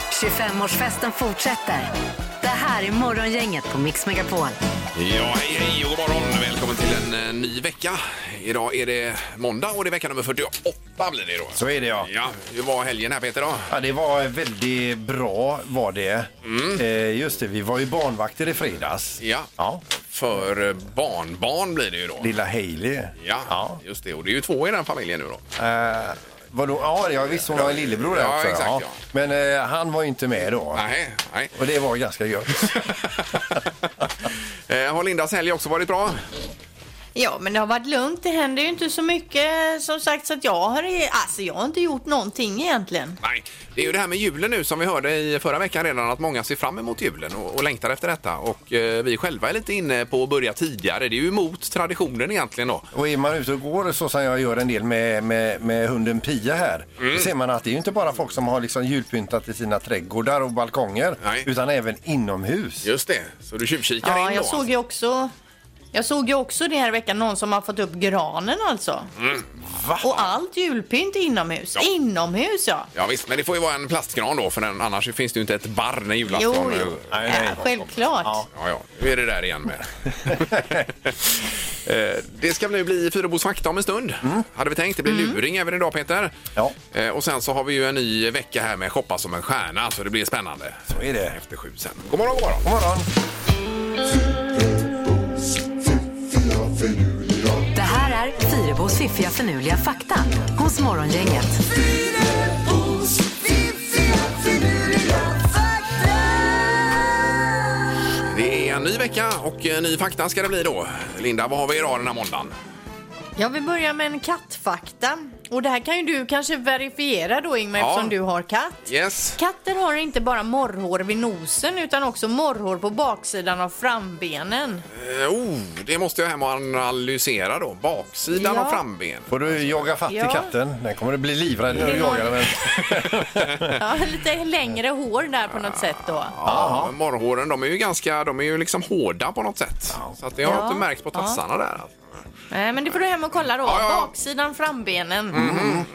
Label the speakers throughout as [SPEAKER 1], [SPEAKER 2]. [SPEAKER 1] 25-årsfesten fortsätter. Det här är Morgongänget på Mix Megapol.
[SPEAKER 2] Ja, hej, hej och god morgon. Välkommen till en eh, ny vecka. Idag är det måndag och det är vecka nummer 48 blir det då.
[SPEAKER 3] Så är det ja.
[SPEAKER 2] Ja, hur var helgen här Peter då?
[SPEAKER 3] Ja, det var väldigt bra var det. Eh, just det, vi var ju barnvakter i fredags.
[SPEAKER 2] Mm. Ja.
[SPEAKER 3] Ja,
[SPEAKER 2] För eh, barnbarn blir det ju då.
[SPEAKER 3] lilla Hailey.
[SPEAKER 2] Ja,
[SPEAKER 3] ja.
[SPEAKER 2] just det. Och det är ju två i den familjen nu då.
[SPEAKER 3] Eh, vadå? Ja, jag visste hon har en lillebror där
[SPEAKER 2] Ja,
[SPEAKER 3] också.
[SPEAKER 2] exakt, ja.
[SPEAKER 3] Men eh, han var ju inte med då.
[SPEAKER 2] Nej, nej.
[SPEAKER 3] Och det var ganska gött.
[SPEAKER 2] Eh, Har Lindas helg också varit bra?
[SPEAKER 4] Ja, men det har varit lugnt. Det händer ju inte så mycket. Som sagt, så att jag har, alltså, jag har inte gjort någonting egentligen.
[SPEAKER 2] Nej. Det är ju det här med julen nu som vi hörde i förra veckan redan att många ser fram emot julen och, och längtar efter detta. Och eh, vi själva är lite inne på att börja tidigare. Det är ju emot traditionen egentligen då.
[SPEAKER 3] Och är man ute och går så som jag gör en del med, med, med hunden Pia här.
[SPEAKER 2] Mm.
[SPEAKER 3] Då ser man att det är ju inte bara folk som har liksom julpyntat i sina trädgårdar och balkonger.
[SPEAKER 2] Nej.
[SPEAKER 3] Utan även inomhus.
[SPEAKER 2] Just det, så du tjuvkikar in
[SPEAKER 4] Ja,
[SPEAKER 2] då? alltså?
[SPEAKER 4] jag såg ju också... Jag såg ju också det här veckan någon som har fått upp granen alltså.
[SPEAKER 3] Va?
[SPEAKER 4] Och allt julpynt är inomhus.
[SPEAKER 2] Ja.
[SPEAKER 4] Inomhus ja.
[SPEAKER 2] Ja visst, men det får ju vara en plastgran då för den, annars finns det ju inte ett barr när
[SPEAKER 4] Jo,
[SPEAKER 2] julafton.
[SPEAKER 4] jo.
[SPEAKER 3] Nej,
[SPEAKER 4] Ja,
[SPEAKER 3] nej.
[SPEAKER 4] självklart.
[SPEAKER 3] Ja.
[SPEAKER 2] Ja, ja, nu är det där igen med. Eh, det ska nu bli Fyrebos fakta om en stund.
[SPEAKER 4] Mm.
[SPEAKER 2] Hade vi tänkt. Det blir luring även idag Peter.
[SPEAKER 3] Ja.
[SPEAKER 2] Eh, Och sen så har vi ju en ny vecka här med Shoppa som en stjärna så det blir spännande.
[SPEAKER 3] Så är det.
[SPEAKER 2] Efter sju sen. God morgon, god morgon.
[SPEAKER 3] God morgon.
[SPEAKER 1] Det här är Fyrebos fiffiga förnuliga fakta hos Morgongänget.
[SPEAKER 2] Det är en ny vecka och en ny fakta ska det bli då. Linda, vad har vi idag den här måndagen?
[SPEAKER 4] Ja, vi börjar med en kattfakta. Och det här kan ju du kanske verifiera då Ingmar
[SPEAKER 2] Ja.
[SPEAKER 4] eftersom du har katt.
[SPEAKER 2] Yes.
[SPEAKER 4] Katter har inte bara morrhår vid nosen utan också morrhår på baksidan av frambenen.
[SPEAKER 2] Eh, Oh, det måste jag hem och analysera då. Baksidan
[SPEAKER 4] Ja.
[SPEAKER 2] och framben.
[SPEAKER 3] Får du jaga fatt
[SPEAKER 4] Ja.
[SPEAKER 3] i katten? Den kommer att bli livrädd när du jagar den.
[SPEAKER 4] Ja, lite längre hår där på något sätt då.
[SPEAKER 2] Ja, men morrhåren de är ju ganska, de är ju liksom hårda på något sätt. Så att det har
[SPEAKER 4] Ja.
[SPEAKER 2] inte märkt på tassarna där. alltså.
[SPEAKER 4] Nej, Eh, men det får du hem och kolla då.
[SPEAKER 2] Ja, ja, Mhm. ja.
[SPEAKER 4] Baksidan, frambenen.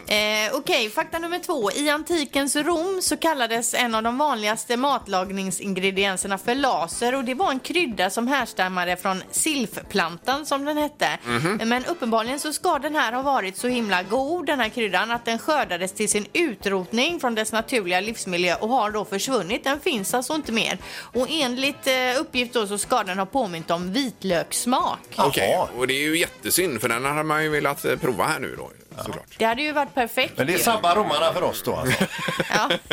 [SPEAKER 4] Eh, Okej, fakta nummer två. I antikens Rom så kallades en av de vanligaste matlagningsingredienserna för laser och det var en krydda som härstammade från silfplantan som den hette.
[SPEAKER 2] Mhm.
[SPEAKER 4] Men uppenbarligen så ska den här ha varit så himla god, den här kryddan, att den skördades till sin utrotning från dess naturliga livsmiljö och har då försvunnit. Den finns alltså inte mer. Och enligt eh, uppgift då så ska den ha påmint om vitlökssmak.
[SPEAKER 2] Okej, och det är ju jättesynd för den hade man ju velat eh, prova här nu då. Såklart.
[SPEAKER 4] Det hade ju varit perfekt.
[SPEAKER 3] Men det
[SPEAKER 4] ju.
[SPEAKER 3] sabbar romarna för oss då alltså.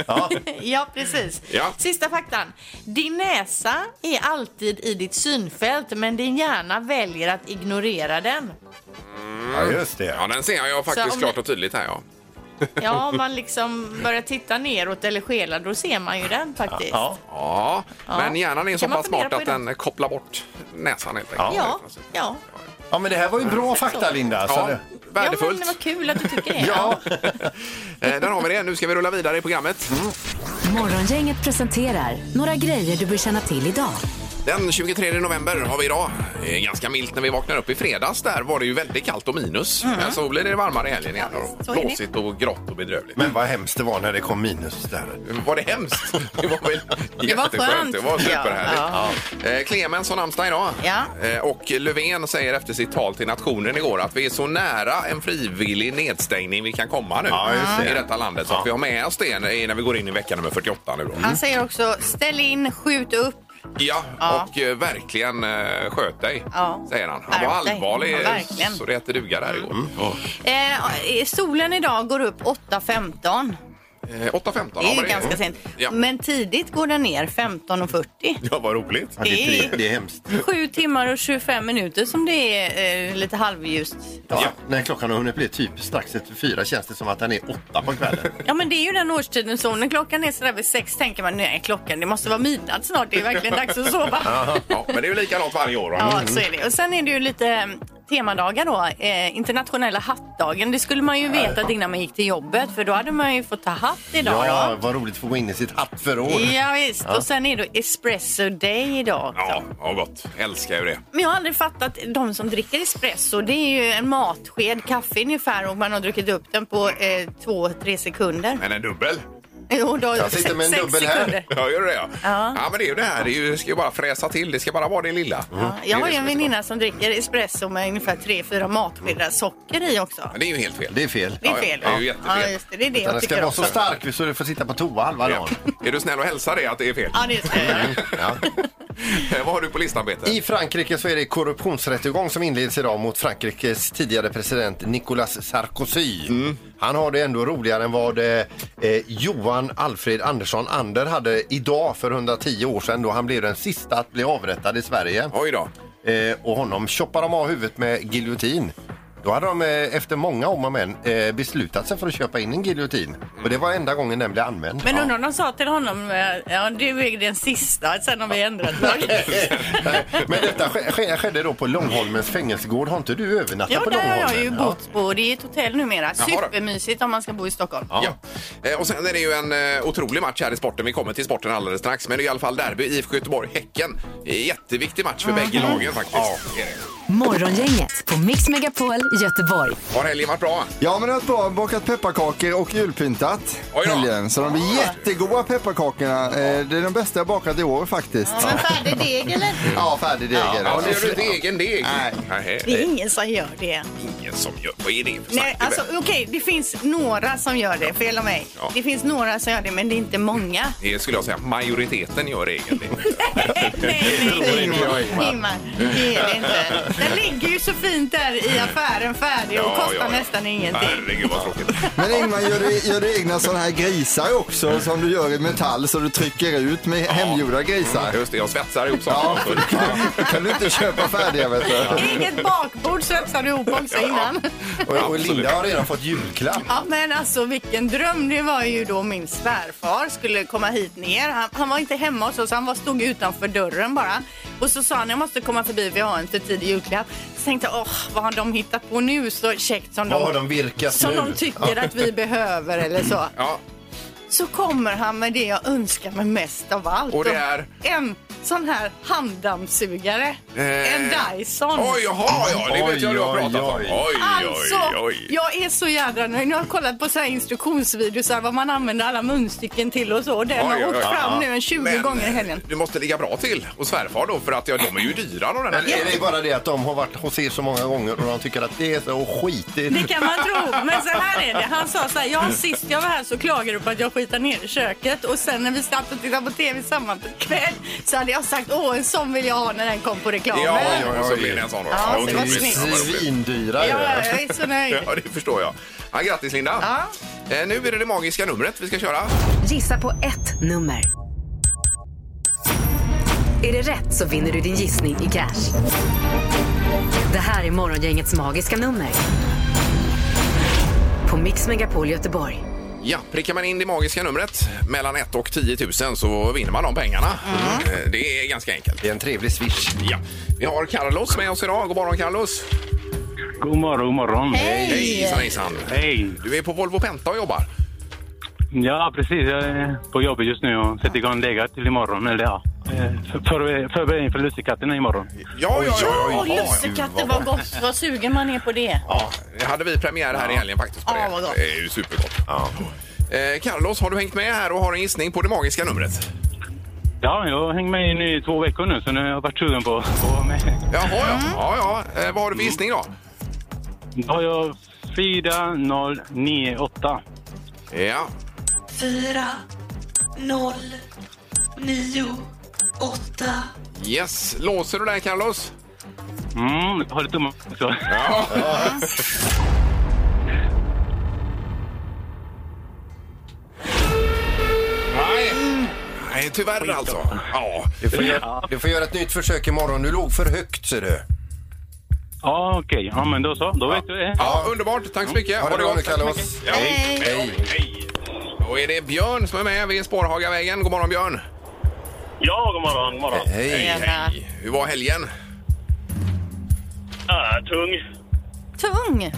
[SPEAKER 4] Ja, ja precis.
[SPEAKER 2] Ja.
[SPEAKER 4] Sista faktan. Din näsa är alltid i ditt synfält men din hjärna väljer att ignorera den.
[SPEAKER 3] Ja, just det.
[SPEAKER 2] Ja, den ser jag ju faktiskt
[SPEAKER 4] om-
[SPEAKER 2] klart och tydligt här ja.
[SPEAKER 4] Ja, om man liksom börjar titta neråt eller skela då ser man ju den faktiskt.
[SPEAKER 3] Ja.
[SPEAKER 2] Ja, men hjärnan är så
[SPEAKER 4] Kan man
[SPEAKER 2] pass
[SPEAKER 4] fundera
[SPEAKER 2] smart
[SPEAKER 4] på
[SPEAKER 2] att
[SPEAKER 4] idag?
[SPEAKER 2] den kopplar bort näsan helt enkelt.
[SPEAKER 4] Ja, ja.
[SPEAKER 3] ja, men det här var ju bra fakta Linda. Så
[SPEAKER 2] Ja,
[SPEAKER 3] det...
[SPEAKER 4] ja men det
[SPEAKER 2] värdefullt.
[SPEAKER 4] var kul att du tycker det.
[SPEAKER 3] Ja,
[SPEAKER 2] Eh, Där har vi det. Nu ska vi rulla vidare i programmet.
[SPEAKER 4] Mm.
[SPEAKER 1] Morgongänget presenterar några grejer du bör känna till idag.
[SPEAKER 2] Den 23 november har vi idag. Det är ganska milt när vi vaknar upp. I fredags där var det ju väldigt kallt och minus. Men så blir det varmare i helgen igen. och
[SPEAKER 4] Mm. så är det.
[SPEAKER 2] Blåsigt och grått och bedrövligt.
[SPEAKER 3] men vad hemskt det var när det kom minus där.
[SPEAKER 2] Var det hemskt? Det var väl
[SPEAKER 4] Det var
[SPEAKER 2] jätteskönt.
[SPEAKER 4] skönt.
[SPEAKER 2] Det var superhärligt.
[SPEAKER 4] Ja,
[SPEAKER 2] Eh, Clemens har namnsdag idag.
[SPEAKER 4] Ja.
[SPEAKER 2] Eh, Och Löfven säger efter sitt tal till nationen igår att vi är så nära en frivillig nedstängning vi kan komma nu
[SPEAKER 3] Ja, just det.
[SPEAKER 2] i detta landet. Så att vi har med oss det när när vi går in i vecka nummer 48 nu då.
[SPEAKER 4] Han säger också ställ in, skjut upp.
[SPEAKER 2] Ja,
[SPEAKER 4] Ja.
[SPEAKER 2] och eh, verkligen eh, sköt dig,
[SPEAKER 4] Ja.
[SPEAKER 2] säger han. Han var
[SPEAKER 4] Skärp dig.
[SPEAKER 2] allvarlig
[SPEAKER 4] Ja,
[SPEAKER 2] eh,
[SPEAKER 4] verkligen.
[SPEAKER 2] så det hette duga där igår. Ja.
[SPEAKER 4] Eh, solen idag går upp 8.15.
[SPEAKER 2] Eh, 8.15
[SPEAKER 4] Det är
[SPEAKER 2] var
[SPEAKER 4] ju ganska sent.
[SPEAKER 2] Ja.
[SPEAKER 4] Men tidigt går den ner 15.40.
[SPEAKER 2] Ja, vad roligt.
[SPEAKER 3] Ja, det, är tri- det är hemskt.
[SPEAKER 4] Sju timmar och 25 minuter som det är eh, lite halvljust.
[SPEAKER 3] Ja, när klockan har hunnit bli typ strax efter fyra känns det som att den är åtta på kvällen.
[SPEAKER 4] Ja men det är ju den årstiden så när klockan är sådär vid sex tänker man nej klockan det måste vara midnatt snart det är verkligen dags att sova.
[SPEAKER 2] Ja, men det är ju likadant varje år. va?
[SPEAKER 4] Ja så är det. Och sen är det ju lite eh, temadagar då. Eh, internationella hattdagen. Det skulle man ju veta innan man gick till jobbet för då hade man ju fått ta hatt idag
[SPEAKER 3] Ja,
[SPEAKER 4] då.
[SPEAKER 3] vad roligt att få gå in i sitt hattförråd.
[SPEAKER 4] Ja, visst. och sen är det espresso day idag också.
[SPEAKER 2] Ja, ja, gott. Älskar ju det.
[SPEAKER 4] Men jag har aldrig fattat de som dricker espresso. Det är ju en matsked kaffe ungefär och man har druckit upp den på eh, två, tre sekunder.
[SPEAKER 2] Men en dubbel?
[SPEAKER 5] Jo, då,
[SPEAKER 6] Jag sitter med en
[SPEAKER 5] sex
[SPEAKER 6] dubbel här.
[SPEAKER 5] sekunder.
[SPEAKER 2] Ja, gör du det? Ja.
[SPEAKER 5] Ja.
[SPEAKER 2] ja, men det är ju det här. Det är ju, ska ju bara fräsa till. Det ska bara vara det lilla.
[SPEAKER 5] Ja,
[SPEAKER 2] Det är
[SPEAKER 5] jag har
[SPEAKER 2] Mm.
[SPEAKER 5] ju en
[SPEAKER 2] det som är så bra.
[SPEAKER 5] väninna som dricker espresso med ungefär 3-4 matskedar socker i också.
[SPEAKER 2] Men Det är ju helt fel.
[SPEAKER 3] Det är fel.
[SPEAKER 5] Det är
[SPEAKER 2] ja,
[SPEAKER 5] fel.
[SPEAKER 2] det är ju jättefel.
[SPEAKER 5] Ja, just det. Det är det
[SPEAKER 3] Den
[SPEAKER 5] jag
[SPEAKER 3] ska
[SPEAKER 5] tycker
[SPEAKER 3] vara så
[SPEAKER 5] också.
[SPEAKER 3] stark så du får sitta på toa halva
[SPEAKER 2] Ja.
[SPEAKER 3] dagen.
[SPEAKER 2] Är du snäll och hälsa det att det är fel?
[SPEAKER 5] Ja, det ska jag
[SPEAKER 2] Mm.
[SPEAKER 5] göra.
[SPEAKER 3] Ja.
[SPEAKER 2] Vad har du på listan, Peter?
[SPEAKER 3] I Frankrike så är det korruptionsrättegång som inleds idag mot Frankrikes tidigare president Nicolas Sarkozy. Han har det ändå roligare än vad eh, eh, Johan Alfred Andersson Ander hade idag för 110 år sedan då han blev den sista att bli avrättad i Sverige.
[SPEAKER 2] Oj då.
[SPEAKER 3] Eh, och honom choppade de av huvudet med giljotin. Då hade de eh, efter många om och men eh, beslutat sig för att köpa in en giljotin. Och det var enda gången den blev använd.
[SPEAKER 4] Men undrar om de sa till honom, eh, ja du är den sista, sen har vi ändrat lag.
[SPEAKER 3] Nej, Men detta ske- ske- skedde då på Långholmens fängelsegård. Har inte du övernattat
[SPEAKER 4] Ja,
[SPEAKER 3] på
[SPEAKER 4] där har
[SPEAKER 3] Långholmen?
[SPEAKER 4] jag ju bott på. Det är ett hotell numera.
[SPEAKER 2] Jaha då.
[SPEAKER 4] Supermysigt om man ska bo i Stockholm.
[SPEAKER 2] Ja. Eh, Och sen är det ju en eh, otrolig match här i sporten. Vi kommer till sporten alldeles strax. Men det är i alla fall derby IFK Göteborg-Häcken. Eh, Jätteviktig match för bägge lagen faktiskt. Det är det.
[SPEAKER 1] Morgongänget på Mix Megapol Göteborg.
[SPEAKER 2] Har helgen varit bra?
[SPEAKER 7] Ja men det har varit bra, bakat pepparkakor och julpyntat
[SPEAKER 2] Oj då.
[SPEAKER 7] helgen. Så de blir jättegoda pepparkakorna. Eh, Det är de bästa jag bakat i år faktiskt.
[SPEAKER 5] Men färdig deg eller?
[SPEAKER 3] Ja, färdig deg är det.
[SPEAKER 2] Ja, det gör du inte egen deg.
[SPEAKER 7] Nej.
[SPEAKER 2] Nej.
[SPEAKER 4] Det är ingen som gör det.
[SPEAKER 2] Ingen som gör. Vad är det för
[SPEAKER 4] Nej,
[SPEAKER 2] snack?
[SPEAKER 4] alltså okej, det finns några som gör det. Fel av mig.
[SPEAKER 2] Ja.
[SPEAKER 4] Det finns några som gör det, men det är inte många.
[SPEAKER 2] Det skulle jag säga. Majoriteten gör egen deg.
[SPEAKER 4] nej, nej, nej.
[SPEAKER 3] Ingmar.
[SPEAKER 4] Ingmar, det är det inte. Den ligger ju så fint där i affären färdig och kostar nästan ingenting.
[SPEAKER 2] Herregud vad tråkigt.
[SPEAKER 7] Men Ingmar, gör du, gör du egna sådana här grisar också som du gör i metall så du trycker ut med hemgjorda grisar?
[SPEAKER 2] Just det, jag svetsar ihop
[SPEAKER 7] Ja,
[SPEAKER 2] saker.
[SPEAKER 7] då kan du inte köpa färdiga vet du.
[SPEAKER 4] Eget bakbord svetsade du ihop också innan.
[SPEAKER 3] Och, och
[SPEAKER 2] Absolut.
[SPEAKER 3] Linda har redan fått julklapp.
[SPEAKER 4] Ja, men alltså vilken dröm. Det var ju då min svärfar skulle komma hit ner. Han, han var inte hemma hos oss, han var, stod utanför dörren bara. Och så sa han, jag måste komma förbi, vi har en för tidig julklapp. Så tänkte jag, åh, vad har de hittat på nu så käckt som
[SPEAKER 3] Vad
[SPEAKER 4] de,
[SPEAKER 3] har de virkat
[SPEAKER 4] som
[SPEAKER 3] nu?
[SPEAKER 4] de tycker att vi behöver eller så.
[SPEAKER 2] Ja,
[SPEAKER 4] Så kommer han med det jag önskar mig mest av allt.
[SPEAKER 2] Och det är?
[SPEAKER 4] En sån här handdammsugare.
[SPEAKER 2] Eh,
[SPEAKER 4] En Dyson.
[SPEAKER 2] Oj, jaha, ja, det vet jag du har
[SPEAKER 3] Oj,
[SPEAKER 2] pratat om.
[SPEAKER 3] oj,
[SPEAKER 2] Oj,
[SPEAKER 4] Mm. Alltså,
[SPEAKER 2] oj, oj.
[SPEAKER 4] jag är så jädra nöjd. Nu har jag kollat på så här instruktionsvideosar vad man använder alla munstycken till och så. Och Den
[SPEAKER 2] Oj,
[SPEAKER 4] har
[SPEAKER 2] oj,
[SPEAKER 4] åkt
[SPEAKER 2] oj.
[SPEAKER 4] fram nu en 20 gånger i helgen.
[SPEAKER 2] du måste ligga bra till och svärfar då för att ja, de är ju dyra de
[SPEAKER 3] Eller är
[SPEAKER 2] där.
[SPEAKER 3] det bara det att de har varit hos er så många gånger och de tycker att det är så skitigt?
[SPEAKER 4] Det kan man tro. Men så här är det. Han sa så här, ja, sist jag var här så klagade du på att jag skitar ner i köket. Och sen när vi satt och tittade på tv samma kväll så hade jag sagt, åh en sån vill jag ha när den kom på reklamen.
[SPEAKER 2] Ja,
[SPEAKER 4] Ja,
[SPEAKER 2] ja, och så blir det en sån då.
[SPEAKER 4] Ja,
[SPEAKER 2] otroligt.
[SPEAKER 4] det var
[SPEAKER 2] Ja,
[SPEAKER 4] snyggt.
[SPEAKER 2] vad roligt.
[SPEAKER 3] Svindyra är det.
[SPEAKER 4] jag är så nöjd.
[SPEAKER 2] Ja, det förstår jag. Ja, grattis Linda. Eh, nu är det det magiska numret vi ska köra.
[SPEAKER 1] Gissa på ett nummer. Är det rätt så vinner du din gissning i cash. Det här är Morgongängets magiska nummer. På Mix Megapol Göteborg.
[SPEAKER 2] Ja, prickar man in det magiska numret mellan 1 och 10 000 så vinner man de pengarna.
[SPEAKER 4] Mm.
[SPEAKER 2] Eh, Det är ganska enkelt.
[SPEAKER 3] Det är en trevlig swish.
[SPEAKER 2] Ja. Vi har Carlos med oss idag. God morgon Carlos.
[SPEAKER 8] God morgon, god morgon.
[SPEAKER 2] Hej! Hejsan, hejsan.
[SPEAKER 8] Hej.
[SPEAKER 2] Du är på Volvo Penta och jobbar.
[SPEAKER 8] Ja, precis. Jag är på jobbet just nu och sätter igång degar till imorgon. Eller ja, eh, för- för- förbereder inför lussekatterna imorgon.
[SPEAKER 2] Ja, ja,
[SPEAKER 4] Åh, lussekatter, vad gott. Vad sugen man är på det.
[SPEAKER 2] Ja, det hade vi premiär här i helgen faktiskt. På
[SPEAKER 4] Ja,
[SPEAKER 2] det.
[SPEAKER 4] vad gott.
[SPEAKER 2] det är ju supergott. Eh, Carlos, har du hängt med här och har en gissning på det magiska numret?
[SPEAKER 8] Ja, jag har hängt med i nu i två veckor nu, så nu har jag varit sugen på att vara med.
[SPEAKER 2] Jaha, ja. ja, ja. Eh, vad har du för gissning då?
[SPEAKER 8] Då har jag 4098.
[SPEAKER 2] Ja,
[SPEAKER 9] fyra noll nio åtta
[SPEAKER 2] yes. Låser du där Carlos?
[SPEAKER 8] Mm, jag har lite tummen också.
[SPEAKER 2] Ja. Nej. Nej, tyvärr alltså. Ja.
[SPEAKER 3] Du får, göra, du får göra ett nytt försök imorgon. Du låg för högt ser du.
[SPEAKER 8] Ja, okej. Ja, men då så. Då vet du det.
[SPEAKER 2] ja, underbart. Tack så mycket.
[SPEAKER 3] Ha det bra nu
[SPEAKER 2] gott.
[SPEAKER 3] Carlos.
[SPEAKER 2] Ja. Hej. Hej. Hej. Och är det Björn som är med vid Spårhagavägen. God morgon Björn.
[SPEAKER 10] Ja, god morgon, god morgon.
[SPEAKER 3] Hej.
[SPEAKER 4] Tjena.
[SPEAKER 2] Hur var helgen?
[SPEAKER 10] Ah, tung.
[SPEAKER 4] Tung.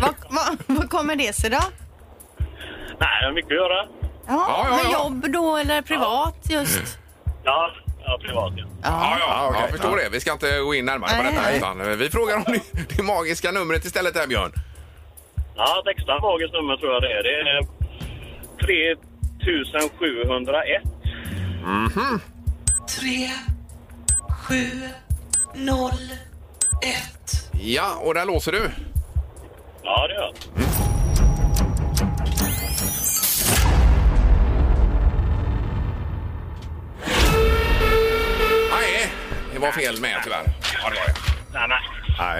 [SPEAKER 4] vad, vad, vad kommer det sig då?
[SPEAKER 10] Nej, det är mycket att göra.
[SPEAKER 4] Ja,
[SPEAKER 2] Ja, ja,
[SPEAKER 4] med
[SPEAKER 2] ja.
[SPEAKER 4] jobb då eller privat just?
[SPEAKER 10] Ja, ja privat ja.
[SPEAKER 2] Ja, Ah, ja, jag förstår det. Vi ska inte gå in närmare på
[SPEAKER 4] Nej.
[SPEAKER 2] detta. Utan eh, vi frågar om det, det magiska numret istället där Björn.
[SPEAKER 10] Ja, ett extra magiskt nummer tror jag det är. Det är 3701.
[SPEAKER 9] 3, 7, 0, 1.
[SPEAKER 2] Ja, och där låser du.
[SPEAKER 10] Ja, det gör jag.
[SPEAKER 2] Nej, det var fel med tyvärr. Ja, det var det.
[SPEAKER 10] Nej, nej.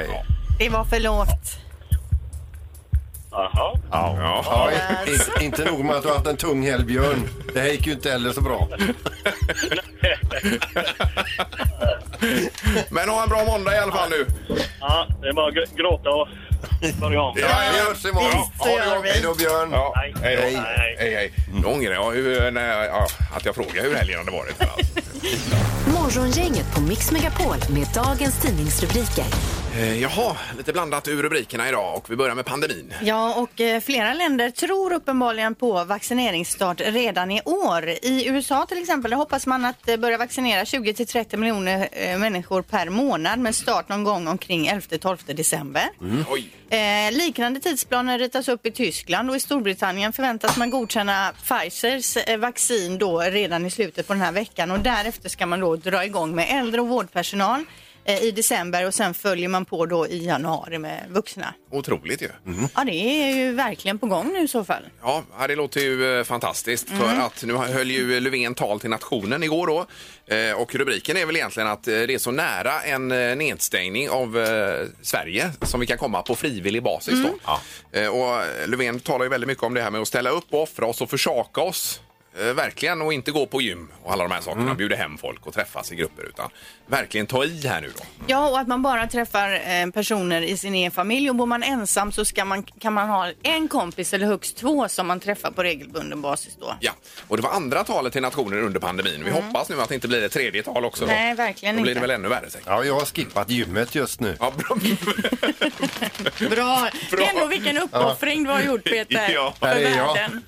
[SPEAKER 3] Nej.
[SPEAKER 5] Det var för lågt.
[SPEAKER 10] Jaha.
[SPEAKER 3] Ja.
[SPEAKER 6] Ja, i- i- inte nog med att du har haft en tung helg, Björn. Det här gick ju inte heller så bra.
[SPEAKER 2] Men ha en bra måndag i alla fall nu.
[SPEAKER 10] Ja, det är bara att gr- gråta och börja om.
[SPEAKER 2] Ja,
[SPEAKER 6] Vi hörs imorgon.
[SPEAKER 5] Visst, så
[SPEAKER 6] Ha det
[SPEAKER 5] gör
[SPEAKER 6] gott.
[SPEAKER 5] vi.
[SPEAKER 6] Hej då, Björn.
[SPEAKER 2] Ja,
[SPEAKER 10] Nej.
[SPEAKER 2] hej då.
[SPEAKER 10] Nej.
[SPEAKER 2] Hej, Mm. hej. Nu ångrar jag hur, när, ja, att jag frågade hur helgen hade varit.
[SPEAKER 1] Morgongänget på Mix Megapol med dagens tidningsrubriker.
[SPEAKER 2] Eh, Jaha, lite blandat ur rubrikerna idag och vi börjar med pandemin.
[SPEAKER 4] Ja, och eh, flera länder tror uppenbarligen på vaccineringsstart redan i år. I USA till exempel där hoppas man att eh, börja vaccinera 20 till 30 miljoner eh, människor per månad med start någon gång omkring 11-12 december.
[SPEAKER 5] Mm.
[SPEAKER 2] Oj.
[SPEAKER 4] Eh, liknande tidsplaner ritas upp i Tyskland och i Storbritannien förväntas man godkänna Pfizers eh, vaccin då redan i slutet på den här veckan och därefter ska man då dra igång med äldre och vårdpersonal eh, i december och sen följer man på då i januari med vuxna.
[SPEAKER 2] Otroligt ju.
[SPEAKER 4] Ja, det är ju verkligen på gång nu i så fall.
[SPEAKER 2] Ja, ja, det låter ju eh, fantastiskt
[SPEAKER 4] Mm.
[SPEAKER 2] för att nu höll ju Löfven tal till nationen igår då Eh, och rubriken är väl egentligen att eh, det är så nära en eh, nedstängning av eh, Sverige som vi kan komma på frivillig basis
[SPEAKER 4] Mm.
[SPEAKER 2] då. Eh, Och Löfven talar ju väldigt mycket om det här med att ställa upp och offra oss och försaka oss. Eh, Verkligen, och inte gå på gym och alla de här sakerna,
[SPEAKER 4] Mm.
[SPEAKER 2] bjuda hem folk och träffas i grupper utan verkligen ta i här nu då.
[SPEAKER 4] Ja, och att man bara träffar eh, personer i sin egen familj och bor man ensam så ska man, kan man ha en kompis eller högst två som man träffar på regelbunden basis då.
[SPEAKER 2] Ja, och det var andra talet till nationen under pandemin. Vi hoppas nu att det inte blir ett tredje tal också. Då.
[SPEAKER 4] Mm. Nej, verkligen
[SPEAKER 2] Då blir det
[SPEAKER 4] inte.
[SPEAKER 2] väl ännu värre säkert.
[SPEAKER 6] Ja, jag har skippat gymmet just nu.
[SPEAKER 2] Ja, bra.
[SPEAKER 4] Bra!
[SPEAKER 2] Bra.
[SPEAKER 4] Det är ändå vilken uppoffring du har gjort Peter.
[SPEAKER 2] Ja.
[SPEAKER 4] för
[SPEAKER 6] Här är jag.
[SPEAKER 4] världen.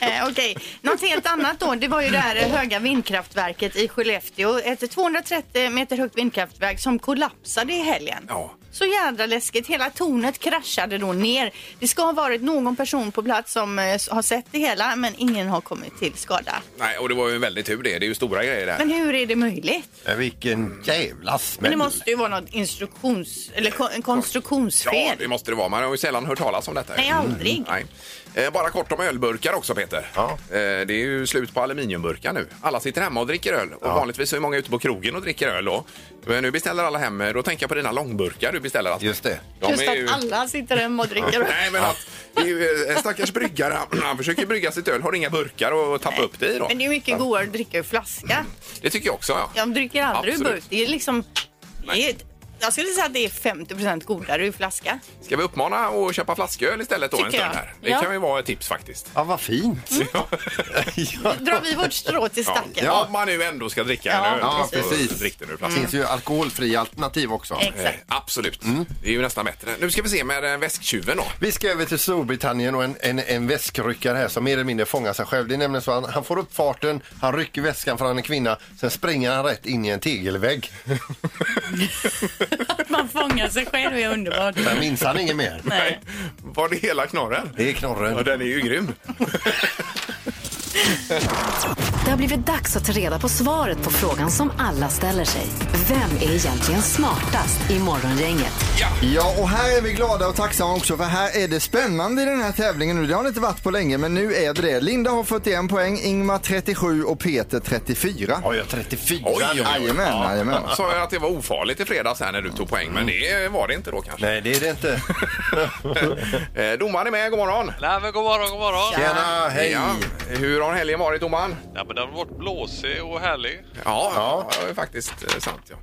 [SPEAKER 4] Eh, Okej, något helt annat då. Det var ju det här eh, höga vindkraftverket i Skellefteå. Ett 230 meter högt vindkraftverk som kollapsade i helgen.
[SPEAKER 2] Ja.
[SPEAKER 4] Så jädra läskigt. Hela tornet kraschade då ner. Det ska ha varit någon person på plats som eh, s- har sett det hela men ingen har kommit till skada.
[SPEAKER 2] Nej, och det var ju en väldig tur det. Det är ju stora grejer det här.
[SPEAKER 4] Men hur är det möjligt?
[SPEAKER 3] Men Vilken jävla smäll.
[SPEAKER 4] Men det måste ju vara något instruktions eller kon- en
[SPEAKER 2] Ja,
[SPEAKER 4] konstruktionsfel.
[SPEAKER 2] det måste det vara. Man har ju sällan hört talas om detta. ju.
[SPEAKER 4] Nej, aldrig.
[SPEAKER 2] Nej. Eh, Bara kort om ölburkar också, Peter.
[SPEAKER 3] Ja.
[SPEAKER 2] Eh, Det är ju slut på aluminiumburkar nu. Alla sitter hemma och dricker öl. Och Vanligtvis så är många ute på krogen och dricker öl. Då. Men nu beställer alla hem. Då tänker jag på dina långburkar du beställer. Alltså.
[SPEAKER 3] Just det.
[SPEAKER 2] De
[SPEAKER 4] Just
[SPEAKER 2] är ju-
[SPEAKER 4] att alla sitter hemma och dricker.
[SPEAKER 2] Nej, men att det är ju, eh, stackars bryggare, han, han försöker brygga sitt öl, har inga burkar och, och tappa upp det i då.
[SPEAKER 4] Men det är ju mycket godare att dricka ur flaska.
[SPEAKER 2] Det tycker jag också, ja.
[SPEAKER 4] Jag dricker aldrig ur
[SPEAKER 2] Absolut.
[SPEAKER 4] burk. Det är liksom... Det är, jag skulle säga att det är 50 godare ur flaska.
[SPEAKER 2] Ska vi uppmana och köpa flasköl istället då en
[SPEAKER 4] Tycker
[SPEAKER 2] stund
[SPEAKER 4] jag.
[SPEAKER 2] här? Det
[SPEAKER 4] Ja.
[SPEAKER 2] kan ju vara ett tips faktiskt.
[SPEAKER 3] Ja, vad fint.
[SPEAKER 4] Mm.
[SPEAKER 3] ja.
[SPEAKER 4] Drar vi vårt strå till stacken?
[SPEAKER 2] Ja, om man nu ändå ska dricka
[SPEAKER 4] Ja,
[SPEAKER 2] en öl.
[SPEAKER 3] Ja,
[SPEAKER 2] så
[SPEAKER 3] precis.
[SPEAKER 2] drick den ur
[SPEAKER 3] Det
[SPEAKER 2] flaskan.
[SPEAKER 3] finns ju alkoholfria alternativ också.
[SPEAKER 4] Mm.
[SPEAKER 2] Eh, absolut. Det är ju nästan bättre. Nu ska vi se med eh, väsktjuven då.
[SPEAKER 3] Vi ska över till Storbritannien och en, en, en väskryckare här som mer eller mindre fångar sig själv. Det är nämligen så han, han får upp farten, han rycker väskan från en kvinna, sen springer han rätt in i en tegelvägg.
[SPEAKER 4] Att man fångar sig själv är underbart.
[SPEAKER 3] Sen minns han inget mer.
[SPEAKER 4] Nej.
[SPEAKER 2] Var det hela knorren?
[SPEAKER 3] Det är
[SPEAKER 2] Ja,
[SPEAKER 3] knorren.
[SPEAKER 2] den är ju grym.
[SPEAKER 1] Det har blivit dags att ta reda på svaret på frågan som alla ställer sig. Vem är egentligen smartast i morgongänget?
[SPEAKER 7] Ja, och här är vi glada och tacksamma också för här är det spännande i den här tävlingen nu. Det har det inte varit på länge, men nu är det det. Linda har 41 poäng, Ingmar 37 och Peter 34.
[SPEAKER 3] Har jag 34?
[SPEAKER 2] Oj, oj, oj.
[SPEAKER 7] Jajamän, jajamän.
[SPEAKER 2] Jag sa ju att det var ofarligt i fredags här när du tog poäng, men det var det inte då kanske.
[SPEAKER 3] Nej, det är det inte.
[SPEAKER 2] Eh, domaren är med, god morgon.
[SPEAKER 10] Nej, men god morgon, god morgon.
[SPEAKER 3] Tjena, hej!
[SPEAKER 2] Ja. Hur har helgen varit, domaren?
[SPEAKER 10] Ja, men den har varit blåsig och härlig.
[SPEAKER 2] Ja, ja. det är faktiskt eh, sant. Ja.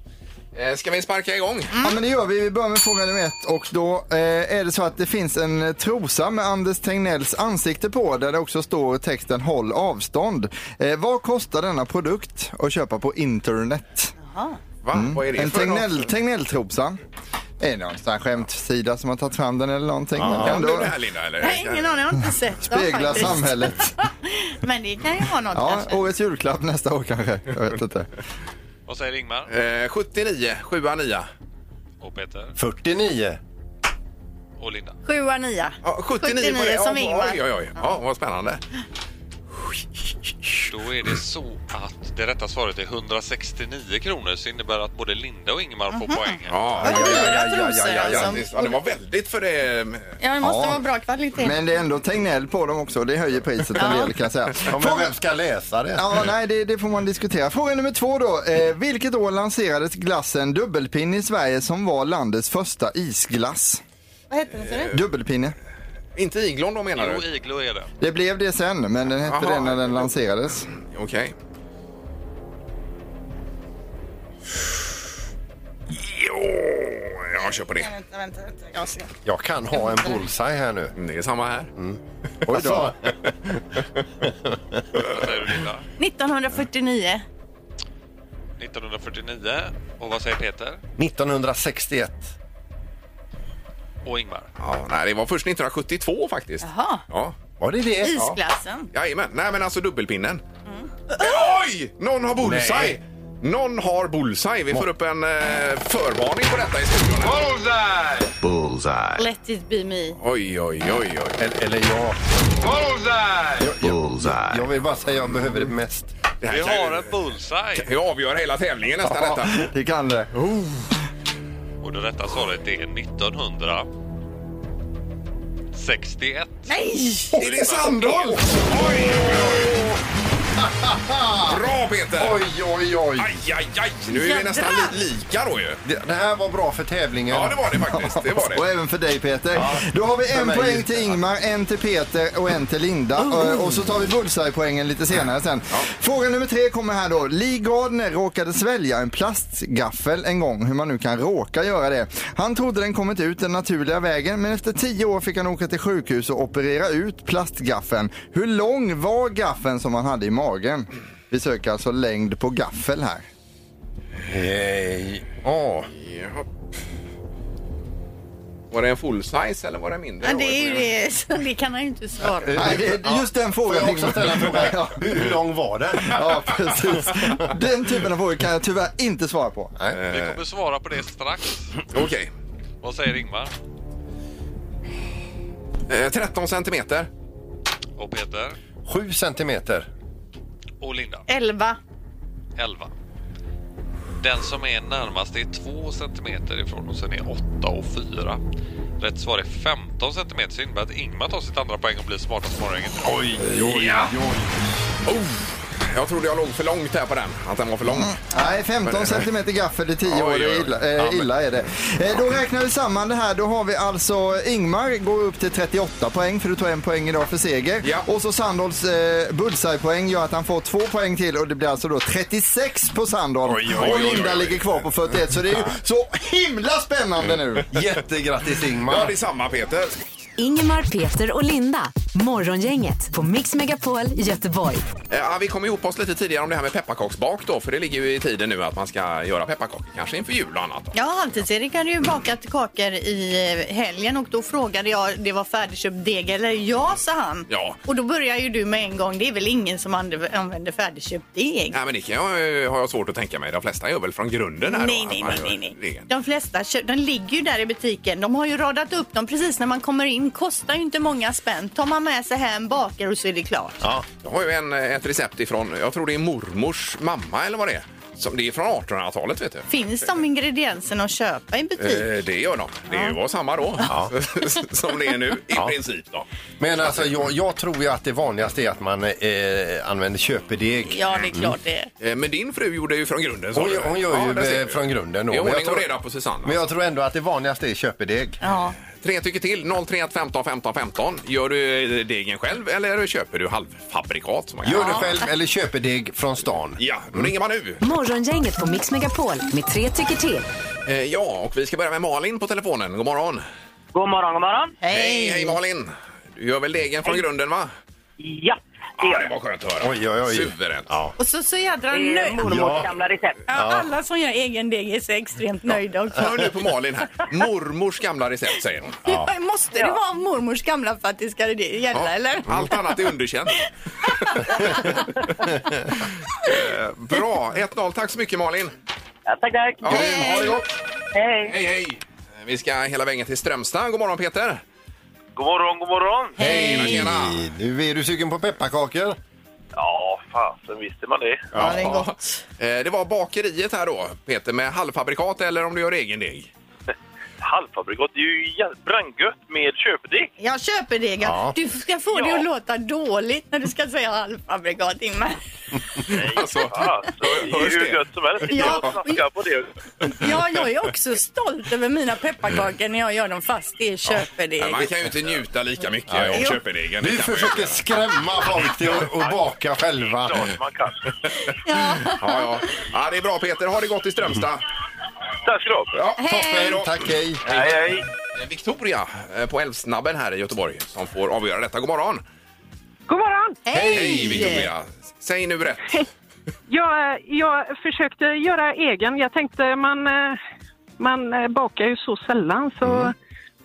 [SPEAKER 2] Eh, Ska vi sparka igång?
[SPEAKER 7] Ja men det gör vi. Vi börjar med fråga nummer ett och då eh, är det så att det finns en eh, trosa med Anders Tegnells ansikte på där det också står texten håll avstånd. Eh, vad kostar denna produkt att köpa på internet?
[SPEAKER 2] Va? Vad är det
[SPEAKER 7] En
[SPEAKER 2] för
[SPEAKER 7] Tegnell,
[SPEAKER 2] något?
[SPEAKER 7] Tegnell-trosa. Är det någon sån här skämtsida som har tagit fram den eller någonting? Men
[SPEAKER 2] Kan du
[SPEAKER 7] ändå
[SPEAKER 2] det här Linda? Eller?
[SPEAKER 4] Nej, ingen aning. Jag har inte sett dem
[SPEAKER 7] speglar
[SPEAKER 4] faktiskt.
[SPEAKER 7] samhället.
[SPEAKER 4] Men det kan ju vara något
[SPEAKER 7] Ja,
[SPEAKER 4] kanske.
[SPEAKER 7] årets julklapp nästa år kanske. Jag vet inte.
[SPEAKER 10] Vad säger Ingmar
[SPEAKER 2] Eh, 79, 7 9.
[SPEAKER 10] och Peter?
[SPEAKER 3] 49.
[SPEAKER 9] och Linda.
[SPEAKER 4] Sjua, nia.
[SPEAKER 2] Ja, 79, var det.
[SPEAKER 4] 79 som
[SPEAKER 2] Ja,
[SPEAKER 4] Ingmar.
[SPEAKER 2] Oj, oj, oj. Ja, vad spännande.
[SPEAKER 9] Då är det så att det rätta svaret är 169 kronor så innebär att både Linda och Ingmar får
[SPEAKER 11] Mhm.
[SPEAKER 9] poäng. här.
[SPEAKER 2] Ja,
[SPEAKER 4] Vad
[SPEAKER 2] ja, ja, ja,
[SPEAKER 4] dyra
[SPEAKER 2] ja,
[SPEAKER 4] trosor,
[SPEAKER 2] ja, ja, ja,
[SPEAKER 4] alltså.
[SPEAKER 2] visst. ja, det var väldigt för det. eh,
[SPEAKER 4] Ja, det måste
[SPEAKER 7] Ja.
[SPEAKER 4] vara bra kvalitet.
[SPEAKER 7] Men det är ändå Tegnell på dem också. Det höjer priset en del kan jag säga.
[SPEAKER 3] Ja, men vem ska läsa det?
[SPEAKER 7] Ja, nej, det, det får man diskutera. Fråga nummer två då. Eh, vilket år lanserades glassen dubbelpinne i Sverige som var landets första isglass?
[SPEAKER 4] Vad heter den? sa du?
[SPEAKER 7] Dubbelpinne.
[SPEAKER 2] Inte Iglon då menar
[SPEAKER 9] Jo,
[SPEAKER 2] du?
[SPEAKER 9] iglo är det.
[SPEAKER 7] Det blev det sen, men den hette
[SPEAKER 2] Aha.
[SPEAKER 7] det när den lanserades.
[SPEAKER 2] Okej. Jo, jag kör på det.
[SPEAKER 4] Vänta, vänta, vänta. Jag ser.
[SPEAKER 3] Jag kan ha en bullseye här nu.
[SPEAKER 2] Mm,
[SPEAKER 3] Alltså,
[SPEAKER 2] Det är samma här.
[SPEAKER 3] Oj
[SPEAKER 9] Vad
[SPEAKER 3] då.
[SPEAKER 9] säger du Linda?
[SPEAKER 4] 1949.
[SPEAKER 9] 1949. Och vad säger Peter?
[SPEAKER 3] 1961.
[SPEAKER 9] Och Ingmar?
[SPEAKER 2] Ja, nej, det var först 1972 faktiskt.
[SPEAKER 4] Jaha,
[SPEAKER 2] Ja.
[SPEAKER 3] Var det det?
[SPEAKER 4] isglassen.
[SPEAKER 2] Jajamän. Nej, men alltså dubbelpinnen. Oj! Någon har bullseye!
[SPEAKER 3] Nej.
[SPEAKER 2] Någon har bullseye. Vi får upp en eh, förvarning på detta i studion. här.
[SPEAKER 4] Let it be me.
[SPEAKER 2] Oj, oj, oj, oj.
[SPEAKER 3] Eller, eller jag.
[SPEAKER 6] Bullseye.
[SPEAKER 3] Jag vill bara säga att jag behöver det mest.
[SPEAKER 2] Det
[SPEAKER 9] Vi
[SPEAKER 2] här kan
[SPEAKER 9] har
[SPEAKER 2] ju-
[SPEAKER 9] en bullseye!
[SPEAKER 2] Det avgör hela tävlingen nästan detta.
[SPEAKER 7] Det kan det.
[SPEAKER 9] Och det rätta svaret är 1961.
[SPEAKER 2] Är det Sandholt? Oj, oj, oj. Bra Peter!
[SPEAKER 3] Oj, oj, oj.
[SPEAKER 2] Aj, aj, aj. Nu är vi
[SPEAKER 4] Jädrar.
[SPEAKER 2] nästan li lika då ju.
[SPEAKER 3] Det, det här var bra för tävlingen.
[SPEAKER 2] Ja, det var det faktiskt. Det var det.
[SPEAKER 7] Och även för dig Peter. Då har vi
[SPEAKER 3] för
[SPEAKER 7] en
[SPEAKER 3] mig.
[SPEAKER 7] poäng till Ingmar, en till Peter och en till Linda. Eh, Och så tar vi bullseye-poängen lite senare sen. Fråga nummer tre kommer här då. Lee Gardner råkade svälja en plastgaffel en gång, hur man nu kan råka göra det. Han trodde den kommit ut den naturliga vägen, men efter tio år fick han åka till sjukhus och operera ut plastgaffeln. Hur lång var gaffeln som han hade i magen? Vi söker alltså längd på gaffel här.
[SPEAKER 3] Hej. Ja.
[SPEAKER 2] Jaha. Var det en full size eller var det mindre?
[SPEAKER 4] Ja, det är ju det, så det kan han ju inte svara på.
[SPEAKER 7] Nej, det är just den frågan.
[SPEAKER 3] Får jag också ställa en fråga?
[SPEAKER 7] Ja.
[SPEAKER 3] Hur lång var den?
[SPEAKER 7] Ja, precis. Den typen av frågor kan jag tyvärr inte svara på.
[SPEAKER 9] Vi kommer svara på det strax.
[SPEAKER 2] Okej.
[SPEAKER 9] Vad säger Ingmar?
[SPEAKER 2] Eh, 13 centimeter.
[SPEAKER 9] Och Peter?
[SPEAKER 3] Sju centimeter.
[SPEAKER 9] Och Linda?
[SPEAKER 4] 11.
[SPEAKER 9] 11. Den som är närmast är 2 cm ifrån och sen är 8 och 4. Rätt svar är 15 cm så innebär att Ingmar tar sitt andra poäng och blir smartast i morgongänget.
[SPEAKER 2] Oj, oj, oj. Oh. Mm. Jag trodde jag låg för långt här på den. Att den var för lång.
[SPEAKER 7] Nej, 15 centimeter gaffel i 10 år,
[SPEAKER 2] Oj,
[SPEAKER 7] det
[SPEAKER 2] oj, oj.
[SPEAKER 7] är illa,
[SPEAKER 2] Ja,
[SPEAKER 7] eh,
[SPEAKER 2] men-
[SPEAKER 7] illa är det. Eh, då räknar vi samman det här. Då har vi alltså Ingmar går upp till 38 poäng för du tar en poäng idag för seger.
[SPEAKER 2] Ja.
[SPEAKER 7] Och så Sandholts eh, bullseye-poäng gör att han får två poäng till och det blir alltså då 36 på Sandholt.
[SPEAKER 2] Oj, oj, oj,
[SPEAKER 7] Och Linda
[SPEAKER 2] oj.
[SPEAKER 7] ligger kvar på 41 så det är ju så himla spännande nu.
[SPEAKER 3] Jättegrattis
[SPEAKER 2] Ja, det
[SPEAKER 3] Ingmar.
[SPEAKER 2] är samma Peter.
[SPEAKER 1] Ingemar, Peter och Linda. Morgongänget på Mix Megapol Göteborg.
[SPEAKER 2] Eh, Ja, vi kom ihop oss lite tidigare om det här med pepparkaksbak då, för det ligger ju i tiden nu att man ska göra pepparkakor, kanske inför jul och annat. Då.
[SPEAKER 4] Ja, Halvtids-Erik hade ju bakat kakor i eh, helgen och då frågade jag det var färdigköpt deg eller ja, sa han.
[SPEAKER 2] Ja.
[SPEAKER 4] Och då börjar ju du med en gång, det är väl ingen som anv- använder färdigköpt deg?
[SPEAKER 2] Nej, men det kan jag, eh, har jag svårt att tänka mig. De flesta gör väl från grunden här
[SPEAKER 4] Nej,
[SPEAKER 2] då,
[SPEAKER 4] nej,
[SPEAKER 2] att man
[SPEAKER 4] nej, nej,
[SPEAKER 2] gör
[SPEAKER 4] nej.
[SPEAKER 2] regeln.
[SPEAKER 4] De flesta kö- de ligger ju där i butiken. De har ju radat upp dem precis när man kommer in. Kostar ju inte många spänn. Tar man med sig hem, bakar och så är det klart.
[SPEAKER 2] Jag har ju en, eh, ett recept ifrån, jag tror det är mormors mamma eller vad det är. Som, det är från 1800-talet vet du.
[SPEAKER 4] Finns de ingredienserna att köpa i butik?
[SPEAKER 2] Eh, det gör de. Det var samma då som det är nu i princip. Då.
[SPEAKER 3] Men alltså jag, jag tror ju att det vanligaste är att man eh, använder köpedeg.
[SPEAKER 4] Ja, det är klart det är.
[SPEAKER 2] Eh, Men din fru gjorde ju från grunden. sa
[SPEAKER 3] Hon,
[SPEAKER 2] du.
[SPEAKER 3] hon gör ju
[SPEAKER 2] där ser
[SPEAKER 3] eh,
[SPEAKER 2] du.
[SPEAKER 3] från grunden då.
[SPEAKER 2] Det är
[SPEAKER 3] Men jag
[SPEAKER 2] ordning och
[SPEAKER 3] tror-
[SPEAKER 2] reda på Susanna.
[SPEAKER 3] Men jag tror ändå att det vanligaste är köpedeg.
[SPEAKER 4] Ja.
[SPEAKER 2] Tre tycker till. 031 15 15 15. Gör du eh, degen själv eller köper du halvfabrikat? Som man kan-
[SPEAKER 3] Gör det själv eller köpedeg från stan.
[SPEAKER 2] Ja, då ringer man nu.
[SPEAKER 1] Morgongänget på Mix Megapol med tre tycker till.
[SPEAKER 2] Eh, ja, och vi ska börja med Malin på telefonen. God morgon.
[SPEAKER 10] God morgon, god morgon.
[SPEAKER 2] Hej, hej Malin. Du gör väl degen från grunden va?
[SPEAKER 10] Ja, det
[SPEAKER 2] Ja,
[SPEAKER 10] gör
[SPEAKER 2] det
[SPEAKER 10] jag.
[SPEAKER 2] var skönt att höra.
[SPEAKER 3] Oj, oj, oj.
[SPEAKER 2] Suveränt.
[SPEAKER 4] Och så, så jädra
[SPEAKER 10] Det är
[SPEAKER 2] Eh,
[SPEAKER 4] nöjd.
[SPEAKER 10] mormors gamla recept.
[SPEAKER 4] Ja, Alla som gör egen deg är så extremt nöjda också.
[SPEAKER 2] Hör nu på Malin här. Mormors gamla recept säger hon.
[SPEAKER 4] Måste det vara mormors gamla för att det ska gälla
[SPEAKER 2] Ja, Mm.
[SPEAKER 4] eller?
[SPEAKER 2] Allt annat är underkänt. Eh, Bra, 1-0. Tack så mycket Malin.
[SPEAKER 10] Ja, tack, tack.
[SPEAKER 2] Ja, ha det gott.
[SPEAKER 10] Hej.
[SPEAKER 2] Hej, hej. Vi ska hela vägen till Strömstad. God morgon Peter!
[SPEAKER 10] God morgon, god morgon.
[SPEAKER 2] Hej! Tjena!
[SPEAKER 3] Nu är du sugen på pepparkakor.
[SPEAKER 10] Ja, fasen visste man det.
[SPEAKER 5] Ja, det är gott.
[SPEAKER 2] Eh, Det var bakeriet här då, Peter, med halvfabrikat eller om du gör egen deg.
[SPEAKER 10] Halvfabrikat, det är ju jävligt brandgött med köpdeg.
[SPEAKER 4] Jag köper det.
[SPEAKER 3] Ja.
[SPEAKER 4] Du ska få det
[SPEAKER 10] Ja.
[SPEAKER 4] att låta dåligt när du ska säga halvfabrikat, Ingmar.
[SPEAKER 2] Alltså,
[SPEAKER 10] Ja, så det
[SPEAKER 2] hörs
[SPEAKER 10] är
[SPEAKER 2] det?
[SPEAKER 10] hur gött som helst.
[SPEAKER 4] Ja.
[SPEAKER 10] Jag snackar på det.
[SPEAKER 4] Ja, jag är också stolt över mina pepparkakor när jag gör dem fast det är köpedeg.
[SPEAKER 2] Men man kan ju inte njuta lika mycket av
[SPEAKER 4] Jo.
[SPEAKER 2] köpedegen. Det
[SPEAKER 3] Vi
[SPEAKER 2] kan man ju
[SPEAKER 3] försöker
[SPEAKER 2] inte.
[SPEAKER 3] skrämma folk till att att baka själva.
[SPEAKER 10] Klart man kan.
[SPEAKER 2] Ja, ja. ja, det är bra Peter. Ha det gott i
[SPEAKER 10] Mm.
[SPEAKER 2] Strömstad.
[SPEAKER 10] Tack ska du ha.
[SPEAKER 2] Ja,
[SPEAKER 3] Toppen,
[SPEAKER 2] då.
[SPEAKER 3] tack hej.
[SPEAKER 10] Hej, hej.
[SPEAKER 2] Eh, Victoria eh, på Älvsnabben här i Göteborg som får avgöra detta. God morgon!
[SPEAKER 11] God morgon!
[SPEAKER 2] Hej Victoria! Säg nu rätt.
[SPEAKER 11] Jag, eh, jag försökte göra egen. Jag tänkte man, eh, man eh, bakar ju så sällan så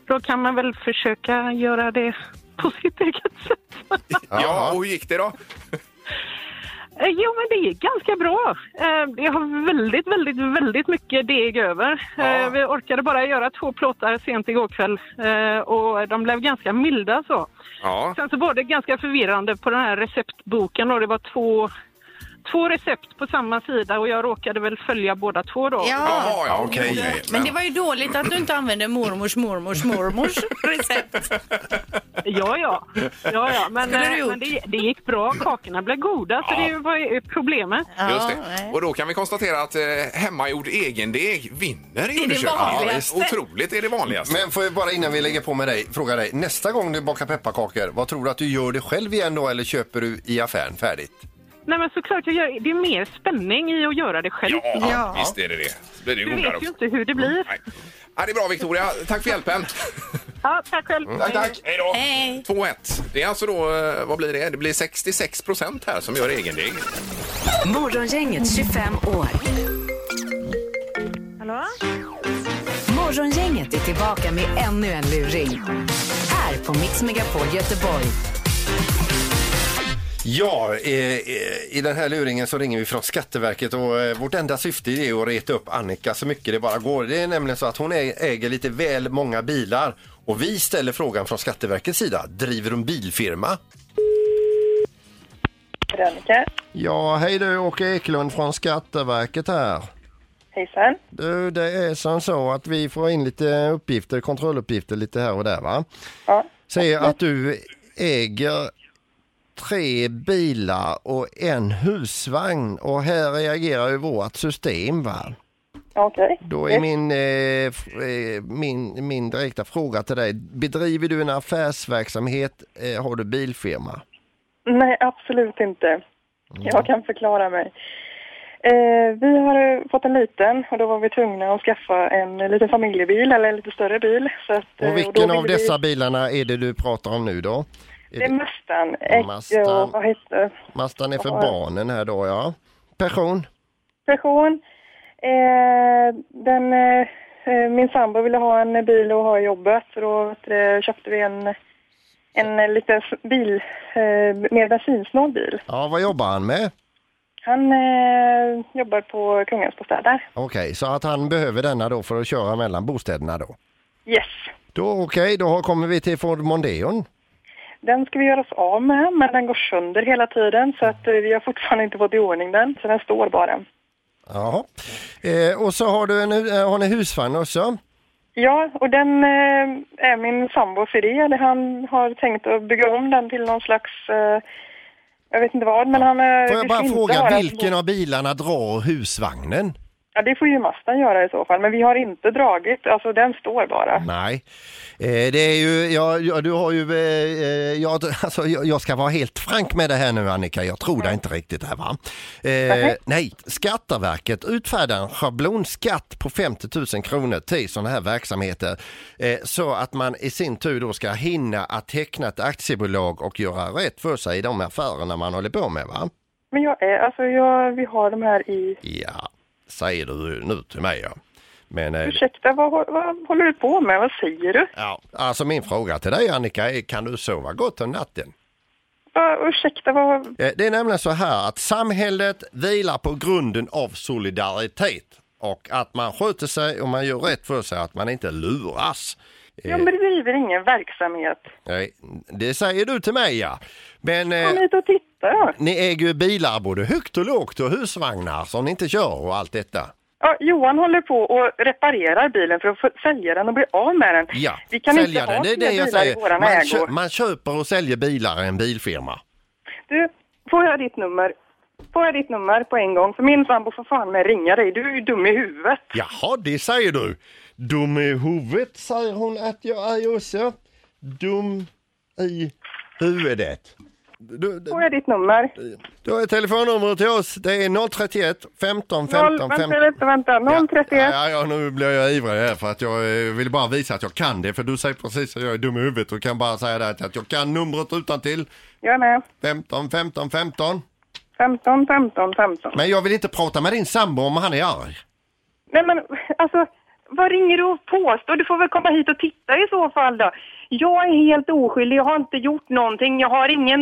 [SPEAKER 11] då kan man väl försöka göra det på sitt eget sätt.
[SPEAKER 2] Ja, och hur gick det då?
[SPEAKER 11] Eh, jo, men det är ganska bra. Eh, jag har väldigt, väldigt, väldigt mycket deg över. Eh, vi orkade bara göra två plåtar sent igår kväll eh, och de blev ganska milda så.
[SPEAKER 2] Ja,
[SPEAKER 11] Sen så var det ganska förvirrande på den här receptboken och det var två, två recept på samma sida och jag råkade väl följa båda två då.
[SPEAKER 4] Ja.
[SPEAKER 2] Jaha, ja okej.
[SPEAKER 4] Men det var ju dåligt att du inte använde mormors mormors mormors recept.
[SPEAKER 11] Ja, ja. ja, ja. Men,
[SPEAKER 4] Skulle du
[SPEAKER 11] eh,
[SPEAKER 4] gjort?
[SPEAKER 11] men det, det gick bra, kakorna blev goda så det var ju problemet.
[SPEAKER 2] Just
[SPEAKER 4] Ja,
[SPEAKER 2] det.
[SPEAKER 4] nej.
[SPEAKER 2] Och då kan vi konstatera att eh, hemmagjord egendeg vinner i
[SPEAKER 4] det
[SPEAKER 2] undersökningen.
[SPEAKER 4] vanligaste.
[SPEAKER 2] Ja, visst. Otroligt är det vanligaste.
[SPEAKER 3] Men får jag bara innan vi lägger på med dig, fråga dig. Nästa gång du bakar pepparkakor, vad tror du att du gör det själv igen då eller köper du i affären färdigt?
[SPEAKER 11] Nej, men såklart, jag gör, det är mer spänning i att göra det själv.
[SPEAKER 2] Ja, Mm.
[SPEAKER 4] Ja.
[SPEAKER 2] visst är det det. Så blir det ju
[SPEAKER 11] Du
[SPEAKER 2] godare
[SPEAKER 11] vet ju
[SPEAKER 2] också.
[SPEAKER 11] inte hur det blir.
[SPEAKER 2] Nej. Ja, det är bra Victoria. Tack för hjälpen.
[SPEAKER 11] Ja, tack själv.
[SPEAKER 2] Hej då.
[SPEAKER 4] Hej.
[SPEAKER 2] 2-1. Det är alltså då, eh, vad blir det? Det blir 66 procent här som gör egendeg.
[SPEAKER 1] Morgongänget 25 år. Morgongänget är tillbaka med ännu en luring. Här på Mix Megapol Göteborg.
[SPEAKER 3] Ja, eh, eh, i den här luringen så ringer vi från Skatteverket och eh, vårt enda syfte är att reta upp Annika så mycket det bara går. Det är nämligen så att hon ä- äger lite väl många bilar och vi ställer frågan från Skatteverkets sida. Driver hon bilfirma?
[SPEAKER 11] Veronica,
[SPEAKER 3] Ja, hej du, Åke Eklund från Skatteverket här.
[SPEAKER 11] hejsan.
[SPEAKER 3] Du, det är som så att vi får in lite uppgifter, kontrolluppgifter lite här och där va?
[SPEAKER 11] Ja.
[SPEAKER 3] Säger att du äger tre bilar och en husvagn och här reagerar ju vårt system va?
[SPEAKER 11] Okej.
[SPEAKER 3] Då är min, eh, f- eh, min, min direkta fråga till dig, bedriver du en affärsverksamhet, eh, har du bilfirma?
[SPEAKER 11] Nej, absolut inte. Jag kan förklara mig. Eh, vi har eh, fått en liten och då var vi tvungna att skaffa en liten familjebil eller en lite större bil. Så att, eh,
[SPEAKER 3] Och
[SPEAKER 11] då
[SPEAKER 3] vilken
[SPEAKER 11] ville
[SPEAKER 3] av
[SPEAKER 11] vi-
[SPEAKER 3] dessa bilarna är det du pratar om nu då? Är
[SPEAKER 11] Det är
[SPEAKER 3] det-
[SPEAKER 11] Mustang. X
[SPEAKER 3] Mustang.
[SPEAKER 11] och vad heter det?
[SPEAKER 3] Mastan är för
[SPEAKER 11] Ja.
[SPEAKER 3] barnen här då, ja. Pension?
[SPEAKER 11] Passion. Eh, den, eh, eh, min sambo ville ha en bil och ha i jobbet så då vet du, eh, köpte vi en, en eh, liten s- bil, eh, mer bensinsnål bil.
[SPEAKER 3] Ja, vad jobbar han med?
[SPEAKER 11] Han eh, jobbar på Kungens bostäder.
[SPEAKER 3] Okej, så att han behöver denna då för att köra mellan bostäderna då?
[SPEAKER 11] Yes.
[SPEAKER 3] Då okej, då har- kommer vi till Ford Mondeon.
[SPEAKER 11] Den ska vi göra oss av med, men den går sönder hela tiden så att eh, vi har fortfarande inte fått i ordning den, så den står bara.
[SPEAKER 3] Jaha. Eh, och så har du en, hu- eh, har ni husvagn också?
[SPEAKER 11] Ja, och den eh, är min sambos idé. Det- Han har tänkt att bygga om den till någon slags, eh, jag vet inte vad, men han... eh,
[SPEAKER 3] Får
[SPEAKER 11] vi
[SPEAKER 3] jag bara
[SPEAKER 11] ska inte
[SPEAKER 3] fråga,
[SPEAKER 11] ha den.
[SPEAKER 3] vilken av bilarna drar husvagnen?
[SPEAKER 11] Ja, det får ju Mastan göra i så fall, men vi har inte dragit, alltså den står bara.
[SPEAKER 3] Nej, eh, det är ju, ja, ja, du har ju, eh, eh, ja, du- alltså, jag, jag ska vara helt frank med det här nu Annika, jag
[SPEAKER 11] Mm.
[SPEAKER 3] tror det inte riktigt här va? Eh, nej, Skatteverket utfärdar en schablonskatt på 50 000 kronor till sådana här verksamheter eh, så att man i sin tur då ska hinna att teckna ett aktiebolag och göra rätt för sig i de affärerna man håller på med va?
[SPEAKER 11] Men jag är, alltså jag, vi har de här i,
[SPEAKER 3] Ja, säger du nu till mig ja. Men, eh,
[SPEAKER 11] ursäkta, vad, hå- vad håller du på med? Vad säger du?
[SPEAKER 3] ja, alltså min fråga till dig Annika är, kan du sova gott om natten?
[SPEAKER 11] Va, ursäkta, vad,
[SPEAKER 3] Eh, Det är nämligen så här att samhället vilar på grunden av solidaritet.
[SPEAKER 10] och att man sköter sig och man gör rätt för sig, att man inte luras.
[SPEAKER 4] Jag bedriver ingen verksamhet.
[SPEAKER 10] Nej, det säger du till mig ja. Men eh,
[SPEAKER 4] Kom hit och titta.
[SPEAKER 10] ni äger ju bilar både högt och lågt och husvagnar som ni inte kör och allt detta.
[SPEAKER 4] Ja, Johan håller på och reparerar bilen för att få- sälja den och bli av med den.
[SPEAKER 10] Ja,
[SPEAKER 4] Vi kan
[SPEAKER 10] sälja
[SPEAKER 4] inte
[SPEAKER 10] den,
[SPEAKER 4] ha
[SPEAKER 10] det är
[SPEAKER 4] fler
[SPEAKER 10] det jag
[SPEAKER 4] bilar i
[SPEAKER 10] säger.
[SPEAKER 4] våran
[SPEAKER 10] Man,
[SPEAKER 4] ägo.
[SPEAKER 10] kö- man köper och säljer bilar i en bilfirma.
[SPEAKER 4] Du, får jag ditt nummer? Får jag ditt nummer på en gång? För min sambo får fan med ringa dig. Du är ju dum i huvudet.
[SPEAKER 10] Jaha, det säger du. Dum i huvudet säger hon att jag är också. Dum i huvudet. Du, du,
[SPEAKER 4] Får jag ditt nummer?
[SPEAKER 10] du har telefonnumret till oss. Det är 031 15
[SPEAKER 4] Noll,
[SPEAKER 10] 15
[SPEAKER 4] vänta,
[SPEAKER 10] 15.
[SPEAKER 4] vänta, vänta. 031.
[SPEAKER 10] Ja, ja, nu blir jag ivrig här för att jag eh, vill bara visa att jag kan det. För du säger precis att jag är dum i huvudet och kan bara säga det att att jag kan numret utan till
[SPEAKER 4] Jag är med.
[SPEAKER 10] 15 15 15.
[SPEAKER 4] 15, 15, 15.
[SPEAKER 10] Men jag vill inte prata med din sambo om han är arg.
[SPEAKER 4] Nej men alltså, vad ringer du och påstår? Du får väl komma hit och titta i så fall då. Jag är helt oskyldig, jag har inte gjort någonting, jag har ingen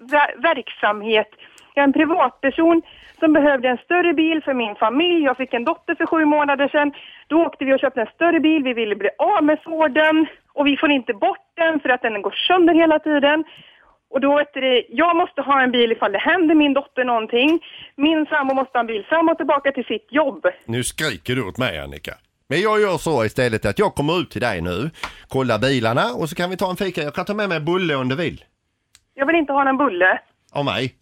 [SPEAKER 4] ver- verksamhet. Jag är en privatperson som behövde en större bil för min familj. Jag fick en dotter för sju månader sedan. Då åkte vi och köpte en större bil, vi ville bli av med Forden och vi får inte bort den för att den går sönder hela tiden. Och då heter det, jag måste ha en bil ifall det händer min dotter någonting. Min sambo måste ha en bil fram och tillbaka till sitt jobb.
[SPEAKER 10] Nu skriker du åt mig Annika. Men jag gör så istället att jag kommer ut till dig nu, kollar bilarna och så kan vi ta en fika. Jag kan ta med mig bulle om du vill.
[SPEAKER 4] Jag vill inte ha någon bulle.
[SPEAKER 10] Av mig.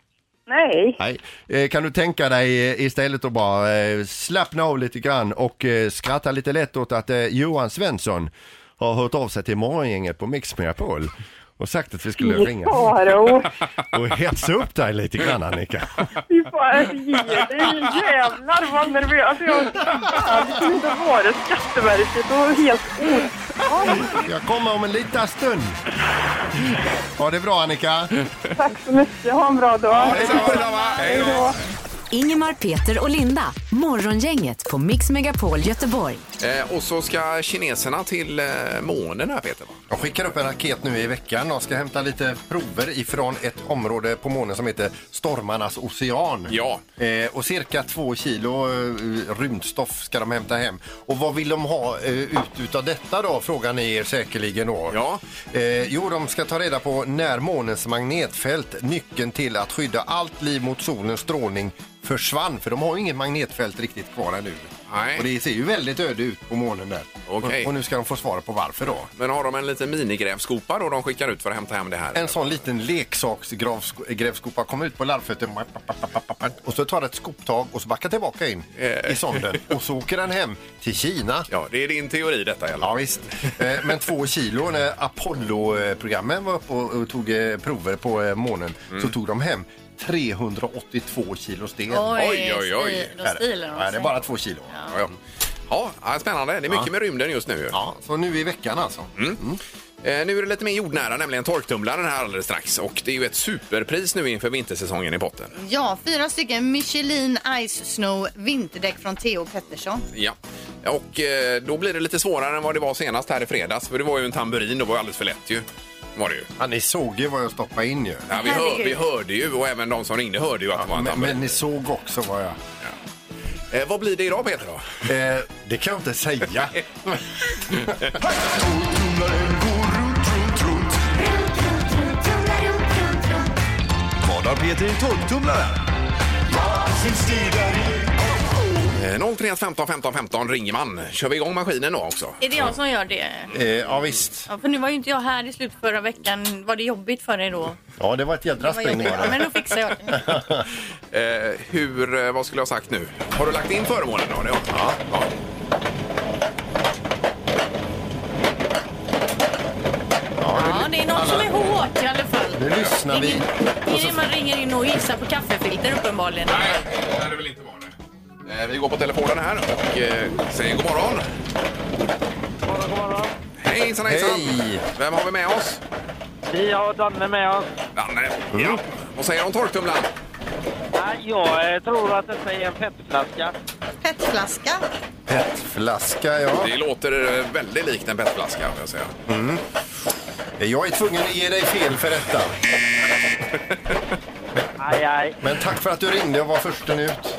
[SPEAKER 4] Nej.
[SPEAKER 10] Nej. Eh, kan du tänka dig eh, istället att bara eh, slappna av lite grann och eh, skratta lite lätt åt att eh, Johan Svensson har hört av sig till morgongänget på Mix Megapol och sagt att vi skulle
[SPEAKER 4] Fy
[SPEAKER 10] ringa
[SPEAKER 4] faro.
[SPEAKER 10] och hetsa upp dig lite grann Annika.
[SPEAKER 4] Fy faro. Ge dig. Jävlar vad nervös alltså jag är. Det kunde inte ha varit Skatteverket och helt ont.
[SPEAKER 10] Jag kommer om en liten stund. Ha det bra Annika.
[SPEAKER 4] Tack så mycket. Ha en bra dag.
[SPEAKER 2] Hej då!
[SPEAKER 1] Ingemar, Peter och Linda. Morgongänget på Mix Megapol Göteborg.
[SPEAKER 2] Eh, och så ska kineserna till eh, månen här Peter. va?
[SPEAKER 10] Jag skickar upp
[SPEAKER 3] en raket nu i veckan. De ska hämta lite prover ifrån ett område på månen som heter Stormarnas ocean.
[SPEAKER 2] Ja.
[SPEAKER 3] Eh, och cirka två kilo eh, rymdstoff ska de hämta hem. Och vad vill de ha eh, ut utav detta då? Frågar ni er säkerligen då.
[SPEAKER 2] Ja.
[SPEAKER 3] Eh, jo, de ska ta reda på när månens magnetfält, nyckeln till att skydda allt liv mot solens strålning, försvann. För de har ju inget magnetfält riktigt kvar ännu.
[SPEAKER 2] Nej.
[SPEAKER 3] Och det ser ju väldigt öde ut på månen där.
[SPEAKER 2] Okej.
[SPEAKER 3] Och, och nu ska de få svar på varför då.
[SPEAKER 2] Men har de en liten minigrävskopa då de skickar ut för att hämta hem det här?
[SPEAKER 3] En sån liten leksaksgrävskopa kom ut på larvfötter och så tar det ett skoptag och så backar tillbaka in
[SPEAKER 2] Eh.
[SPEAKER 3] i sonden och så åker den hem till Kina.
[SPEAKER 2] Ja, det är din teori detta eller?
[SPEAKER 3] Ja, visst. Eh, Men två kilo när Apollo-programmen var uppe och och tog eh, prover på eh, månen
[SPEAKER 2] Mm.
[SPEAKER 3] så tog de hem 382 kilo sten.
[SPEAKER 2] Oj, oj, oj.
[SPEAKER 12] Då stilar de
[SPEAKER 3] Nej, det är
[SPEAKER 12] sig.
[SPEAKER 3] bara två kilo. Ja.
[SPEAKER 2] Ja, ja. ja spännande. Det är mycket med rymden just nu ju.
[SPEAKER 3] så nu i veckan alltså.
[SPEAKER 2] Mm. Eh, Nu är det lite mer jordnära, nämligen torktumlaren här alldeles strax. Och det är ju ett superpris nu inför vintersäsongen i potten.
[SPEAKER 12] Ja, fyra stycken Michelin Ice Snow vinterdäck från Theo Pettersson.
[SPEAKER 2] Ja. Och eh, då blir det lite svårare än vad det var senast här i fredags. För det var ju en tamburin, det var ju alldeles för lätt ju. Var det ju.
[SPEAKER 3] Ja, ni såg ju vad jag stoppade in ju.
[SPEAKER 2] Ja, vi, hör, vi hörde ju och även de som ringde hörde ju att det var en
[SPEAKER 3] Men,
[SPEAKER 2] tamburin.
[SPEAKER 3] men ni såg också vad jag...
[SPEAKER 2] Eh, vad blir det idag Peter då?
[SPEAKER 3] Eh, det kan jag inte säga.
[SPEAKER 7] Vad har Peter i torktumlaren?
[SPEAKER 2] Eh, 031 15 15 15 ringer man. Kör vi igång maskinen då också?
[SPEAKER 13] Är det jag som gör det?
[SPEAKER 3] Eh, ja, visst.
[SPEAKER 13] Ja, för nu var ju inte jag här i slutet förra veckan. Var det jobbigt för er då?
[SPEAKER 3] Ja, det var ett jädra
[SPEAKER 13] Det var
[SPEAKER 3] spring
[SPEAKER 13] jobbigt.
[SPEAKER 3] var
[SPEAKER 13] Ja, men
[SPEAKER 3] det.
[SPEAKER 13] då fixar jag det.
[SPEAKER 2] Eh, hur, eh, vad skulle jag ha sagt nu? Har du lagt in föremålen då? Det har du. Ja.
[SPEAKER 13] Ja, det är något som är hårt i alla fall.
[SPEAKER 3] Nu lyssnar vi.
[SPEAKER 13] Det är det man ringer in och gissar på kaffefilter uppenbarligen.
[SPEAKER 2] Nej, det är det väl inte vara det. Eh, vi går på telefonen här och eh, säger god morgon.
[SPEAKER 8] morgon, god morgon.
[SPEAKER 2] Hejsan, hejsan.
[SPEAKER 3] Hej.
[SPEAKER 2] Vem har vi med oss?
[SPEAKER 8] Vi har Danne med oss.
[SPEAKER 2] Danne. Ja. Vad säger du om torktumlaren?
[SPEAKER 8] Nej, jag eh, tror att detta är en petflaska.
[SPEAKER 12] Petflaska.
[SPEAKER 3] Petflaska, ja.
[SPEAKER 2] Det låter eh, väldigt likt en petflaska. Får jag säga.
[SPEAKER 3] Jag är tvungen att ge dig fel för detta.
[SPEAKER 8] Aj, aj.
[SPEAKER 3] Men tack för att du ringde och var försten ut.
[SPEAKER 8] Ja,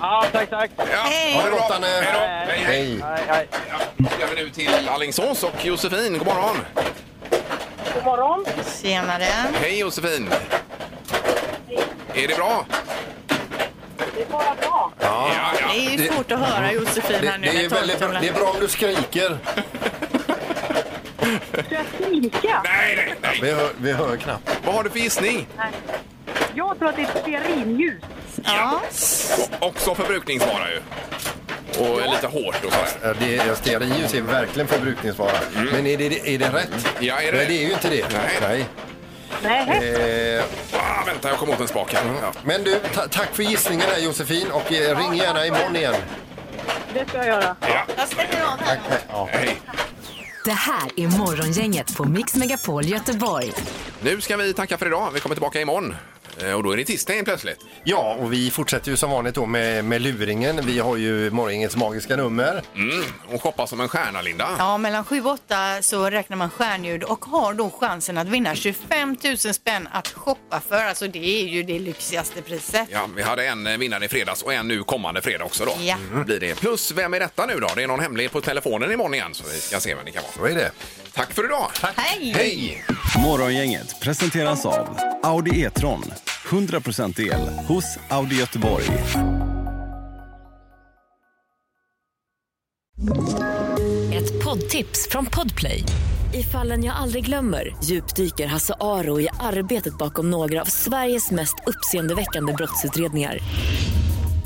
[SPEAKER 14] Ja, tack, tack.
[SPEAKER 2] Hej!
[SPEAKER 3] Ha det gott, Anne.
[SPEAKER 2] Hej då. Hej, hej.
[SPEAKER 3] Hej.
[SPEAKER 14] Hej, hej.
[SPEAKER 2] Då ska vi nu till Alingsås och Josefin. God morgon!
[SPEAKER 15] God morgon.
[SPEAKER 4] Senare.
[SPEAKER 2] Hej Josefin! Är det bra?
[SPEAKER 15] Det är bara bra.
[SPEAKER 2] Ja, ja.
[SPEAKER 4] Det är ju svårt att höra Josefin
[SPEAKER 3] Det,
[SPEAKER 4] här nu.
[SPEAKER 3] det, är
[SPEAKER 4] när
[SPEAKER 3] väldigt bra,
[SPEAKER 4] torktumlaren-
[SPEAKER 3] det är bra om du skriker.
[SPEAKER 15] Ska jag skrika?
[SPEAKER 2] Nej, nej, nej!
[SPEAKER 3] Vi hör, vi hör knappt.
[SPEAKER 2] Vad har du för gissning?
[SPEAKER 15] Jag tror att det är stearinljus.
[SPEAKER 4] Ja.
[SPEAKER 2] O- Också förbrukningsvara ju. Och lite hårt och sådär.
[SPEAKER 3] Ja, Det är, stearinljus är verkligen förbrukningsvara. Men är det, är det rätt?
[SPEAKER 2] Ja, är det
[SPEAKER 3] Nej,
[SPEAKER 2] rätt?
[SPEAKER 3] det är ju inte det.
[SPEAKER 2] Nej.
[SPEAKER 15] Nej.
[SPEAKER 3] Eh,
[SPEAKER 2] Ah, vänta, jag kom åt en spak här. Ja.
[SPEAKER 3] men du, ta- tack för gissningen här Josefin och eh, ring gärna imorgon igen.
[SPEAKER 15] Det ska jag göra.
[SPEAKER 4] Jag stänger av här.
[SPEAKER 2] Hej.
[SPEAKER 1] Det här är Morgongänget på Mix Megapol Göteborg.
[SPEAKER 2] Nu ska vi tacka för idag. Vi kommer tillbaka imorgon. Eh, Och då är det tisdag igen plötsligt.
[SPEAKER 3] Ja, och vi fortsätter ju som vanligt då med, med luringen. Vi har ju morgongängets magiska nummer.
[SPEAKER 2] Mm. Och shoppa som en stjärna, Linda.
[SPEAKER 4] Ja, mellan 7 och 8 så räknar man stjärnljud och har då chansen att vinna 25 000 spänn att shoppa för. Alltså det är ju det lyxigaste priset.
[SPEAKER 2] Ja, vi hade en eh, vinnare i fredags och en nu kommande fredag också då.
[SPEAKER 4] Ja.
[SPEAKER 2] Mm. Blir det. Plus, vem är detta nu då? Det är någon hemlig på telefonen imorgon igen så vi ska se vem det kan vara.
[SPEAKER 3] Så är det.
[SPEAKER 2] Tack för idag!
[SPEAKER 4] Hej!
[SPEAKER 2] Hej!
[SPEAKER 8] Morgongänget presenteras av Audi E-tron. 100% el hos Audi Göteborg.
[SPEAKER 1] Ett poddtips från Podplay. I fallen jag aldrig glömmer djupdyker Hasse Aro i arbetet bakom några av Sveriges mest uppseendeväckande brottsutredningar.